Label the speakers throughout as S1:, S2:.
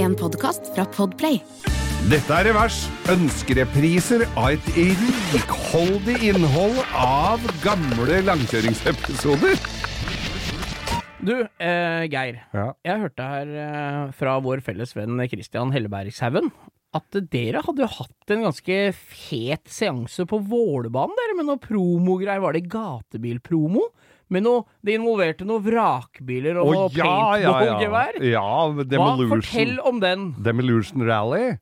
S1: en podkast fra Podplay.
S2: Dette er Revers. Ønskerepriser av et rikholdig innhold av gamle langkjøringsepisoder.
S3: Du, eh, Geir.
S2: Ja.
S3: Jeg hørte her eh, fra vår felles venn Christian Hellebergshaugen at dere hadde jo hatt en ganske fet seanse på Vålerbanen, dere, med noe promogreier. Var det gatebilpromo? Med noe Det involverte noen vrakbiler og noe paintballgevær.
S2: ja.
S3: Hva?
S2: Demolution.
S3: Fortell om den.
S2: Demolution Rally.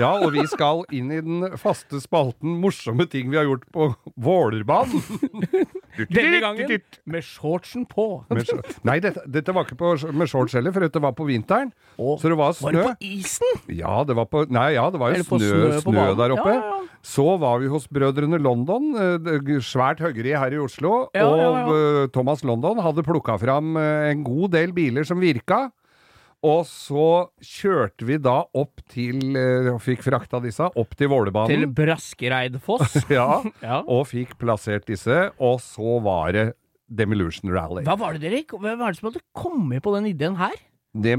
S2: Ja, og vi skal inn i den faste spalten morsomme ting vi har gjort på Vålerbanen.
S3: Denne gangen med shortsen på.
S2: Med shor- Nei, dette, dette var ikke på, med shorts heller, for dette var på vinteren.
S3: Å,
S2: Så det var
S3: Var det
S2: snø.
S3: på isen?
S2: Ja, det var på Nei, ja, det var jo
S3: Eller på
S2: snø, snø,
S3: snø på banen.
S2: der oppe.
S3: Ja, ja, ja.
S2: Så var vi hos Brødrene London, eh, det- svært høggeri her i Oslo.
S3: Ja,
S2: og
S3: ja,
S2: eh, Thomas London hadde plukka fram eh, en god del biler som virka. Og så kjørte vi da opp til eh, og Fikk frakta disse opp til
S3: Til
S2: Vålerbanen.
S3: Braskereidfoss.
S2: Ja,
S3: Ja.
S2: og fikk plassert disse. Og så var det Demolution Rally.
S3: Hva var det dere Hva var det som hadde kommet på den ideen her?
S2: Det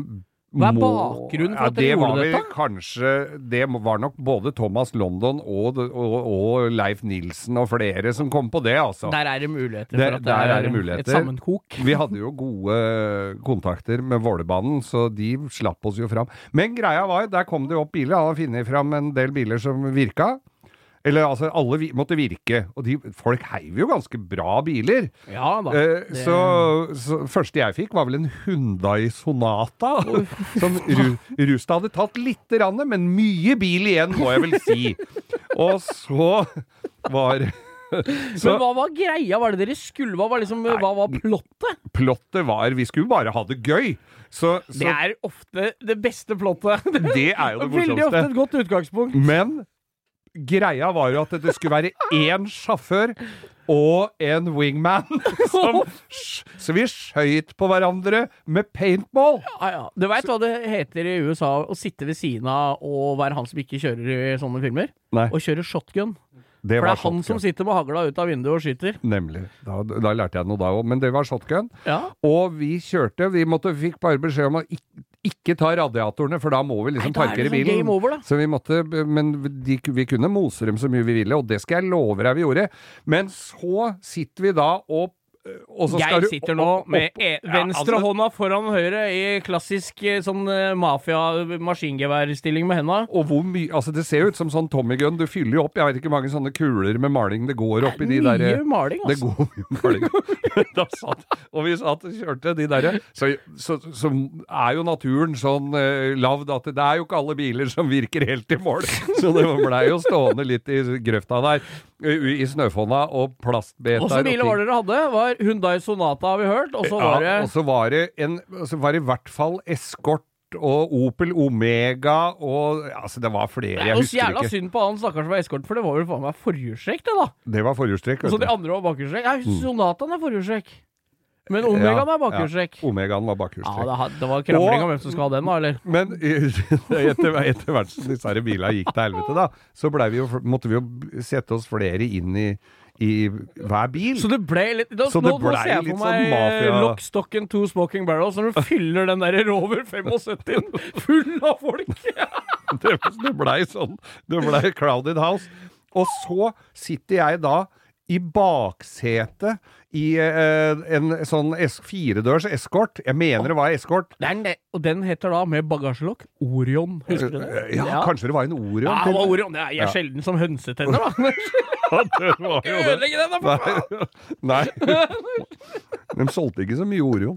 S3: Hva er
S2: må-
S3: bakgrunnen for at dere
S2: det
S3: gjorde
S2: var vel
S3: dette?
S2: Kanskje, det var nok både Thomas London og, og, og Leif Nilsen og flere som kom på det, altså.
S3: Der er det muligheter
S2: Der-
S3: for at det
S2: der
S3: er,
S2: er det muligheter.
S3: et sammenkok.
S2: Vi hadde jo gode kontakter med Vålerbanen, så de slapp oss jo fram. Men greia var, der kom det jo opp biler. Han hadde funnet fram en del biler som virka. Eller altså, alle vi, måtte virke. Og de, folk heiv jo ganske bra biler.
S3: Ja da.
S2: Eh,
S3: det-
S2: Så, så første jeg fikk var vel en Hyundai Sonata, som Ru, Rustad hadde tatt lite grann, men mye bil igjen, må jeg vel si. Og så var så-
S3: Men hva var greia? Var det dere skulle? Hva var, liksom, hva var plottet?
S2: Plottet var Vi skulle bare ha det gøy. Så, så
S3: Det er ofte det beste plottet.
S2: det er jo det
S3: Veldig ofte
S2: morsomste.
S3: et godt utgangspunkt.
S2: Men greia var jo at det skulle være én sjåfør og en wingman. Som, så vi skøyt på hverandre med paintball.
S3: Ja, ja. Du veit hva det heter i USA å sitte ved siden av og være han som ikke kjører i sånne filmer?
S2: Nei.
S3: Å kjøre shotgun.
S2: Det
S3: For det
S2: var
S3: er han
S2: shotgun.
S3: som sitter med hagla ut av vinduet og skyter.
S2: Nemlig. Da, da lærte jeg noe da òg. Men det var shotgun.
S3: Ja.
S2: Og vi kjørte. Vi måtte, fikk bare beskjed om å ikke, ikke ta radiatorene, for da må vi liksom
S3: Nei, da er
S2: parkere
S3: det liksom
S2: bilen.
S3: game over, da.
S2: Så vi måtte Men de, vi kunne mose dem så mye vi ville, og det skal jeg love deg vi gjorde. Men så sitter vi da og og så skal
S3: Jeg
S2: du
S3: sitter
S2: opp-
S3: nå
S2: opp-
S3: med e
S2: ja,
S3: venstre
S2: altså,
S3: hånda foran høyre i klassisk eh, sånn eh, mafia-maskingeværstilling med henda.
S2: Og hvor mye Altså, det ser jo ut som sånn Tommy Gun. Du fyller jo opp, jeg vet ikke hvor mange sånne kuler med maling det går oppi de
S3: Mye
S2: der eh,
S3: maling,
S2: Det
S3: altså.
S2: går mye maling. da satt, og vi satt og kjørte de derre så, så, så er jo naturen sånn eh, lagd at det er jo ikke alle biler som virker helt i mål. Så det blei jo stående litt i grøfta der, eh, i, i snøfonna og plastbeter
S3: Åssen biler var det dere hadde? Var Hundai Sonata, har vi hørt. Og så var det
S2: ja, altså, og så var det en Så var det i hvert fall eskort. Og Opel Omega og Altså, det var flere,
S3: Det
S2: jeg
S3: er jo så
S2: husker
S3: jævla
S2: ikke.
S3: synd på han stakkars som var eskorten, for det var vel faen meg forhjulstrekk, det, da.
S2: Det var forhjulstrekk,
S3: Og
S2: vet
S3: så
S2: du.
S3: de andre var bakhjulstrekk. Nei, Sonataen er forhjulstrekk. Men Omegaen er bakhjulstrekk.
S2: Mm. Ja, Omegaen var
S3: Ja,
S2: bakhjulstrekk.
S3: det, ha- det var krangling
S2: Og-
S3: om hvem som skal ha den, da, eller?
S2: Men eh, etter, etter hvert som disse her bilene gikk til helvete, da, så ble vi jo, måtte vi jo sette oss flere inn i, i hver bil.
S3: Så det ble litt Nå,
S2: Så det
S3: nå, nå
S2: ble
S3: ser jeg
S2: litt
S3: for meg
S2: sånn mafia-
S3: Lock, stock and two smoking barrels når du fyller den der Rover 75 full av folk.
S2: det, det blei sånn. Det blei Crowded House. Og så sitter jeg da i baksetet i eh, en sånn es firedørs eskort. Jeg mener det var eskort.
S3: Det er den, og den heter da, med bagasjelokk, Orion. Husker du det?
S2: Eh, Ja, kanskje det var en Orion.
S3: Ja, det
S2: til-
S3: var Orion. Det er, jeg er sjelden som hønsetenner, da.
S2: Ja, det var jo det.
S3: Ødelegge den, da, for faen!
S2: Nei. Nei. De solgte ikke så mye Orion.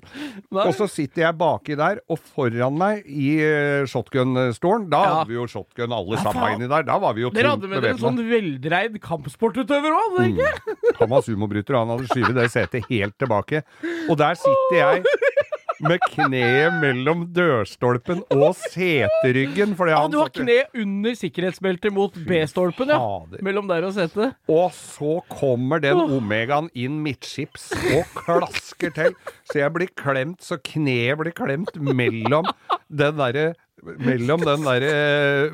S3: Nei.
S2: Og så sitter jeg baki der, og foran meg i eh, shotgun-stolen Da
S3: Ja.
S2: hadde vi jo shotgun alle
S3: Ja,
S2: sammen
S3: faen.
S2: inni der. Da var vi jo tungt
S3: Dere hadde med dere en
S2: bevæpnet.
S3: sånn veldreid kampsportutøver òg, hadde dere ikke?
S2: Han var sumobryter, og han hadde skyvet det setet helt tilbake. Og der sitter jeg med kneet mellom dørstolpen og seteryggen. Fordi
S3: Ja,
S2: han
S3: du har
S2: satt-
S3: kne under sikkerhetsbeltet mot B-stolpen, ja.
S2: Fader.
S3: Mellom der og setet.
S2: Og så kommer den omegaen inn midtskips og klasker til, så jeg blir klemt, så kneet blir klemt mellom den derre Mellom den derre eh,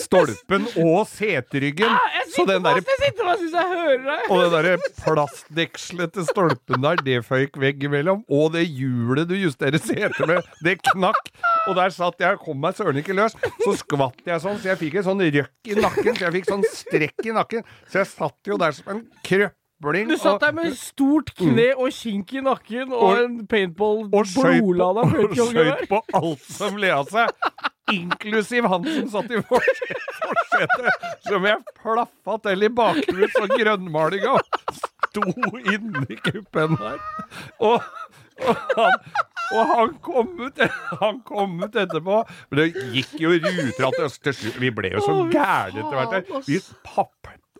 S2: stolpen og seteryggen.
S3: Ah, jeg
S2: så
S3: sitter
S2: den der,
S3: fast, jeg sitter fast, jeg syns jeg hører deg!
S2: og den derre plastdekselet til stolpen der, det føyk veggimellom. Og det hjulet du justerer setet med, det knakk. Og der satt jeg og kom meg søren ikke løs. Så skvatt jeg sånn, så jeg fikk en sånn røkk i nakken. Så jeg fikk sånn strekk i nakken. Så jeg satt jo der som en krøpling.
S3: Du satt
S2: og-
S3: der med stort kne og kink i nakken og
S2: Og-
S3: en paintball
S2: og skøyt på,
S3: blodlada
S2: og
S3: fløytekjolge
S2: skjøt
S3: der.
S2: på alt som leda seg. Inklusiv han som satt i forse- forsetet, som jeg plaffa til i bakhuet så grønnmalinga sto inni kuppen her. Og, og, han, og han, kom ut, han kom ut etterpå. Men det gikk jo ruter at det- til slutt Vi ble jo så
S3: Å, fy
S2: gærne etter hvert.
S3: faen,
S2: der. Vi papp,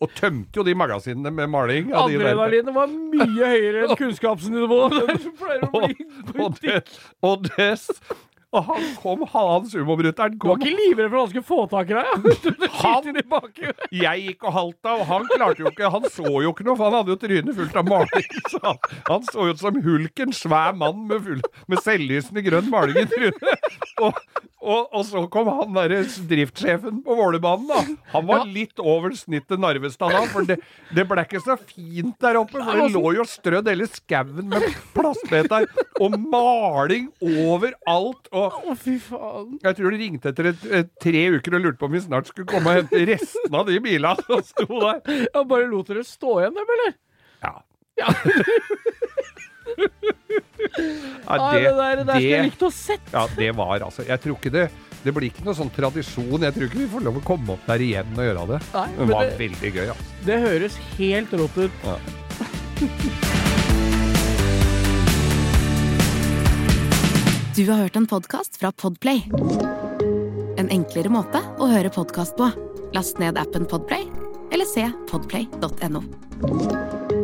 S2: og tømte jo de magasinene med maling. av de der-
S3: Adrenalinet var mye høyere enn kunnskapsnivået. Du pleier å bli
S2: og det, og det s- og han kom, han sumobryteren
S3: Du var
S2: kom.
S3: ikke livredd for at han skulle få tak i deg? ja? Du
S2: Han-
S3: sitter i bakhuet.
S2: Jeg gikk og halta, og han klarte jo ikke Han så jo ikke noe, for han hadde jo trynet fullt av maling. Så han, han så ut som hulken, svær mann med, full, med selvlysende grønn maling i trynet. Og, og, og så kom han derre driftssjefen på Vålerbanen, da. Han var litt over snittet Narvestad da, for det, det ble ikke så fint der oppe. For
S3: altså-
S2: det lå jo strødd hele skauen med plastbeter og maling overalt. Og
S3: Å, fy faen.
S2: jeg tror de ringte etter et, et, tre uker og lurte på om vi snart skulle komme og hente resten av de bilene som sto der.
S3: Jeg bare lot dere stå igjen dem, eller?
S2: Ja.
S3: Ja.
S2: Ja,
S3: Nei, det, der, det der skulle jeg likt å sett.
S2: ja, det var altså Jeg tror ikke det Det blir ikke noe sånn tradisjon. Jeg tror ikke vi får lov å komme opp der igjen og gjøre det.
S3: Nei,
S2: Men
S3: men
S2: det var
S3: det-
S2: veldig gøy, altså.
S3: Det høres helt rått ut.
S2: Ja.
S1: Du har hørt en podcast fra Podplay En enklere måte å høre podcast på Last ned appen Podplay Eller se podplay.no